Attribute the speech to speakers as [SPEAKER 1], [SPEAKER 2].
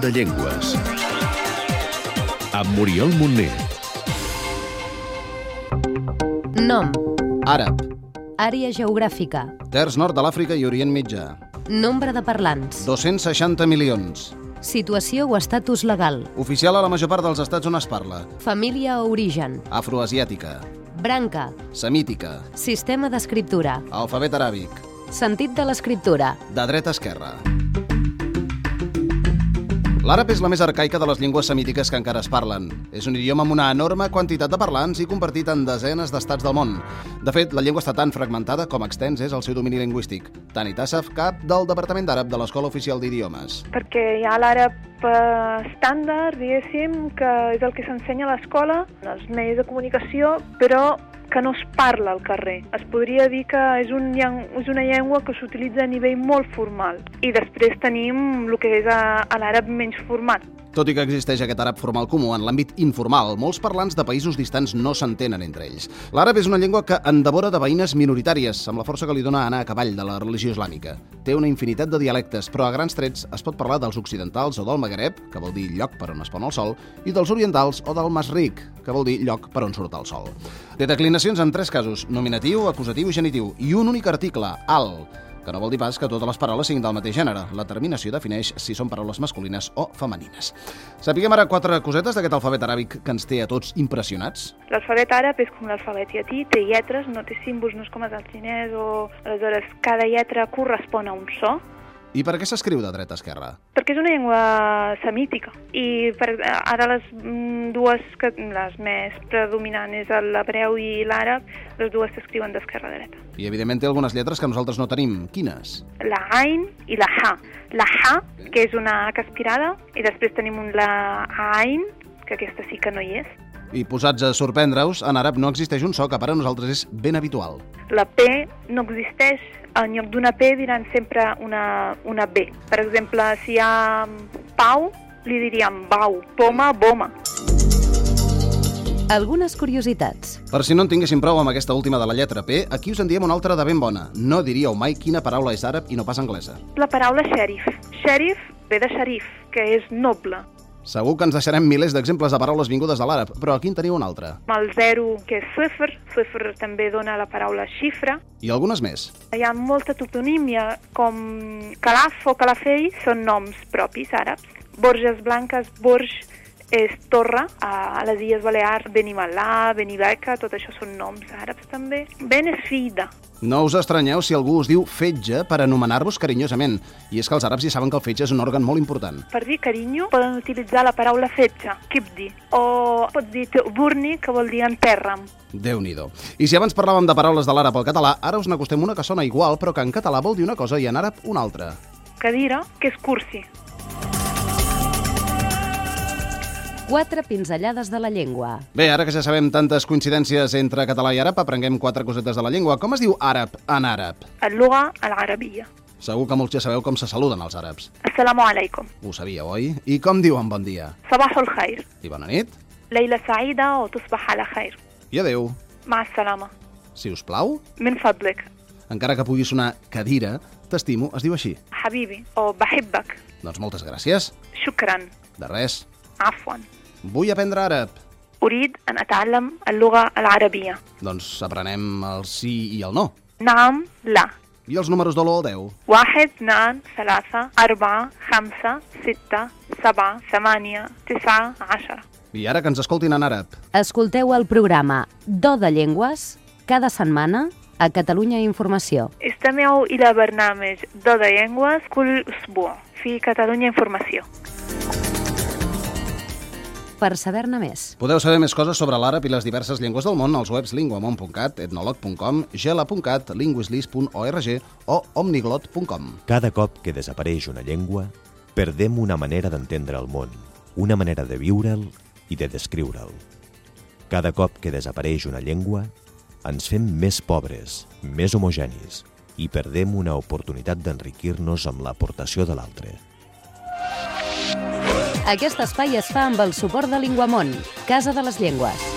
[SPEAKER 1] de Llengües. Amb Oriol Montner.
[SPEAKER 2] Nom.
[SPEAKER 3] Àrab,
[SPEAKER 2] Àrea geogràfica.
[SPEAKER 3] terç nord de l'Àfrica i Orient Mitjà.
[SPEAKER 2] Nombre de parlants.
[SPEAKER 3] 260 milions.
[SPEAKER 2] Situació o estatus legal.
[SPEAKER 3] Oficial a la major part dels estats on es parla.
[SPEAKER 2] Família o origen.
[SPEAKER 3] Afroasiàtica,
[SPEAKER 2] Branca.
[SPEAKER 3] semítica,
[SPEAKER 2] Sistema d'escriptura.
[SPEAKER 3] alfabet aràbic,
[SPEAKER 2] Sentit de l'escriptura.
[SPEAKER 3] de dreta a esquerra. L'àrab és la més arcaica de les llengües semítiques que encara es parlen. És un idioma amb una enorme quantitat de parlants i compartit en desenes d'estats del món. De fet, la llengua està tan fragmentada com extens és el seu domini lingüístic. Tani Tassaf, cap del Departament d'Àrab de l'Escola Oficial d'Idiomes.
[SPEAKER 4] perquè hi ha l'àrab eh, estàndard, diguéssim, que és el que s'ensenya a l'escola, als medis de comunicació, però que no es parla al carrer. Es podria dir que és, un, llen- és una llengua que s'utilitza a nivell molt formal. I després tenim el que és a, a l'àrab menys format.
[SPEAKER 3] Tot i que existeix aquest àrab formal comú en l'àmbit informal, molts parlants de països distants no s'entenen entre ells. L'àrab és una llengua que endevora de veïnes minoritàries, amb la força que li dona anar a cavall de la religió islàmica. Té una infinitat de dialectes, però a grans trets es pot parlar dels occidentals o del Magreb, que vol dir lloc per on es pon el sol, i dels orientals o del Masric, que vol dir lloc per on surt el sol. Té declinacions en tres casos, nominatiu, acusatiu i genitiu, i un únic article, al, que no vol dir pas que totes les paraules siguin del mateix gènere. La terminació defineix si són paraules masculines o femenines. Sapiguem ara quatre cosetes d'aquest alfabet aràbic que ens té a tots impressionats.
[SPEAKER 4] L'alfabet àrab és com l'alfabet llatí, té lletres, no té símbols, no és com el del xinès, o aleshores cada lletra correspon a un so,
[SPEAKER 3] I per què s'escriu de dreta a esquerra?
[SPEAKER 4] perquè és una llengua semítica i per, ara les mm, dues que les més predominants és l'hebreu i l'àrab les dues s'escriuen d'esquerra a dreta
[SPEAKER 3] I, evidentment, té algunes lletres que nosaltres no tenim. Quines?
[SPEAKER 4] la Ain i la Ha la Ha, que és una H aspirada i després tenim un la Ain que aquesta sí que no hi és
[SPEAKER 3] I posats a sorprendre-us, en àrab no existeix un so que per a nosaltres és ben habitual.
[SPEAKER 4] la P no existeix en lloc d'una P diran sempre una, una B per exemple, si hi ha Pau li diríem Bau, Poma, Boma
[SPEAKER 2] Algunes curiositats.
[SPEAKER 3] Per si no en tinguéssim prou amb aquesta última de la lletra P, aquí us en diem una altra de ben bona. No diríeu mai quina paraula és àrab i no pas anglesa.
[SPEAKER 4] La paraula xèrif. Xèrif ve de xerif, que és noble.
[SPEAKER 3] Segur que ens deixarem milers d'exemples de paraules vingudes de l'àrab, però aquí en teniu una altra.
[SPEAKER 4] Amb El zero, que és suefer, suefer també dona la paraula xifra.
[SPEAKER 3] I algunes més.
[SPEAKER 4] Hi ha molta toponímia, com calaf o calafell, són noms propis àrabs. Borges Blanques, Borj és torre, a les Illes Balears, Benimalà, Benibeca, tot això són noms àrabs també. Ben és fida,
[SPEAKER 3] No us estranyeu si algú us diu fetge per anomenar-vos carinyosament. I és que els àrabs ja saben que el fetge és un òrgan molt important.
[SPEAKER 4] Per dir carinyo poden utilitzar la paraula fetge, kibdi, o pot dir burni, que vol dir enterra'm.
[SPEAKER 3] déu nhi I si abans parlàvem de paraules de l'àrab al català, ara us n'acostem una que sona igual, però que en català vol dir una cosa i en àrab una altra.
[SPEAKER 4] Cadira, que és cursi,
[SPEAKER 2] Quatre pinzellades de la llengua.
[SPEAKER 3] Bé, ara que ja sabem tantes coincidències entre català i àrab, aprenguem quatre cosetes de la llengua. Com es diu àrab en àrab?
[SPEAKER 4] اللغة العربية
[SPEAKER 3] Segur que molts ja sabeu com se saluden els àrabs.
[SPEAKER 4] السلام عليكم
[SPEAKER 3] Ho sabíeu, oi? I com diuen bon dia?
[SPEAKER 4] صباح الخير
[SPEAKER 3] I bona nit?
[SPEAKER 4] ليلة سعيدة وتصبح على خير
[SPEAKER 3] I adeu.
[SPEAKER 4] مع السلامة
[SPEAKER 3] Si us plau,
[SPEAKER 4] من فضلك
[SPEAKER 3] encara que pugui sonar cadira, t'estimo, es diu així.
[SPEAKER 4] حبيبي أو بحبك
[SPEAKER 3] Doncs moltes gràcies.
[SPEAKER 4] شكرا
[SPEAKER 3] De res.
[SPEAKER 4] عفوا
[SPEAKER 3] Vull aprendre àrab.
[SPEAKER 4] أريد أن أتعلم اللغة العربية
[SPEAKER 3] Doncs aprenem el sí i el no.
[SPEAKER 4] نعم لا
[SPEAKER 3] I els números de l'1 al 10.
[SPEAKER 4] واحد اثنان ثلاثة أربعة خمسة ستة سبعة ثمانية تسعة عشرة
[SPEAKER 3] I ara que ens escoltin en àrab.
[SPEAKER 2] Escolteu el programa Do de Llengües cada setmana a Catalunya Informació.
[SPEAKER 4] استمعوا إلى برنامج ضد ينغواس كل أسبوع في كاتالونيا انفورماسيون
[SPEAKER 2] Per saber-ne més,
[SPEAKER 3] Podeu saber més coses sobre l'àrab i les diverses llengües del món als webs linguamon.cat, etnolog.com, gela.cat, linguislis.org o omniglot.com.
[SPEAKER 5] Cada cop que desapareix una llengua, perdem una manera d'entendre el món, una manera de viure'l i de descriure'l. Cada cop que desapareix una llengua, ens fem més pobres, més homogenis i perdem una oportunitat d'enriquir-nos amb l'aportació de l'altre.
[SPEAKER 2] aquest espai es fa amb el suport de Linguamont, Casa de les Llengües.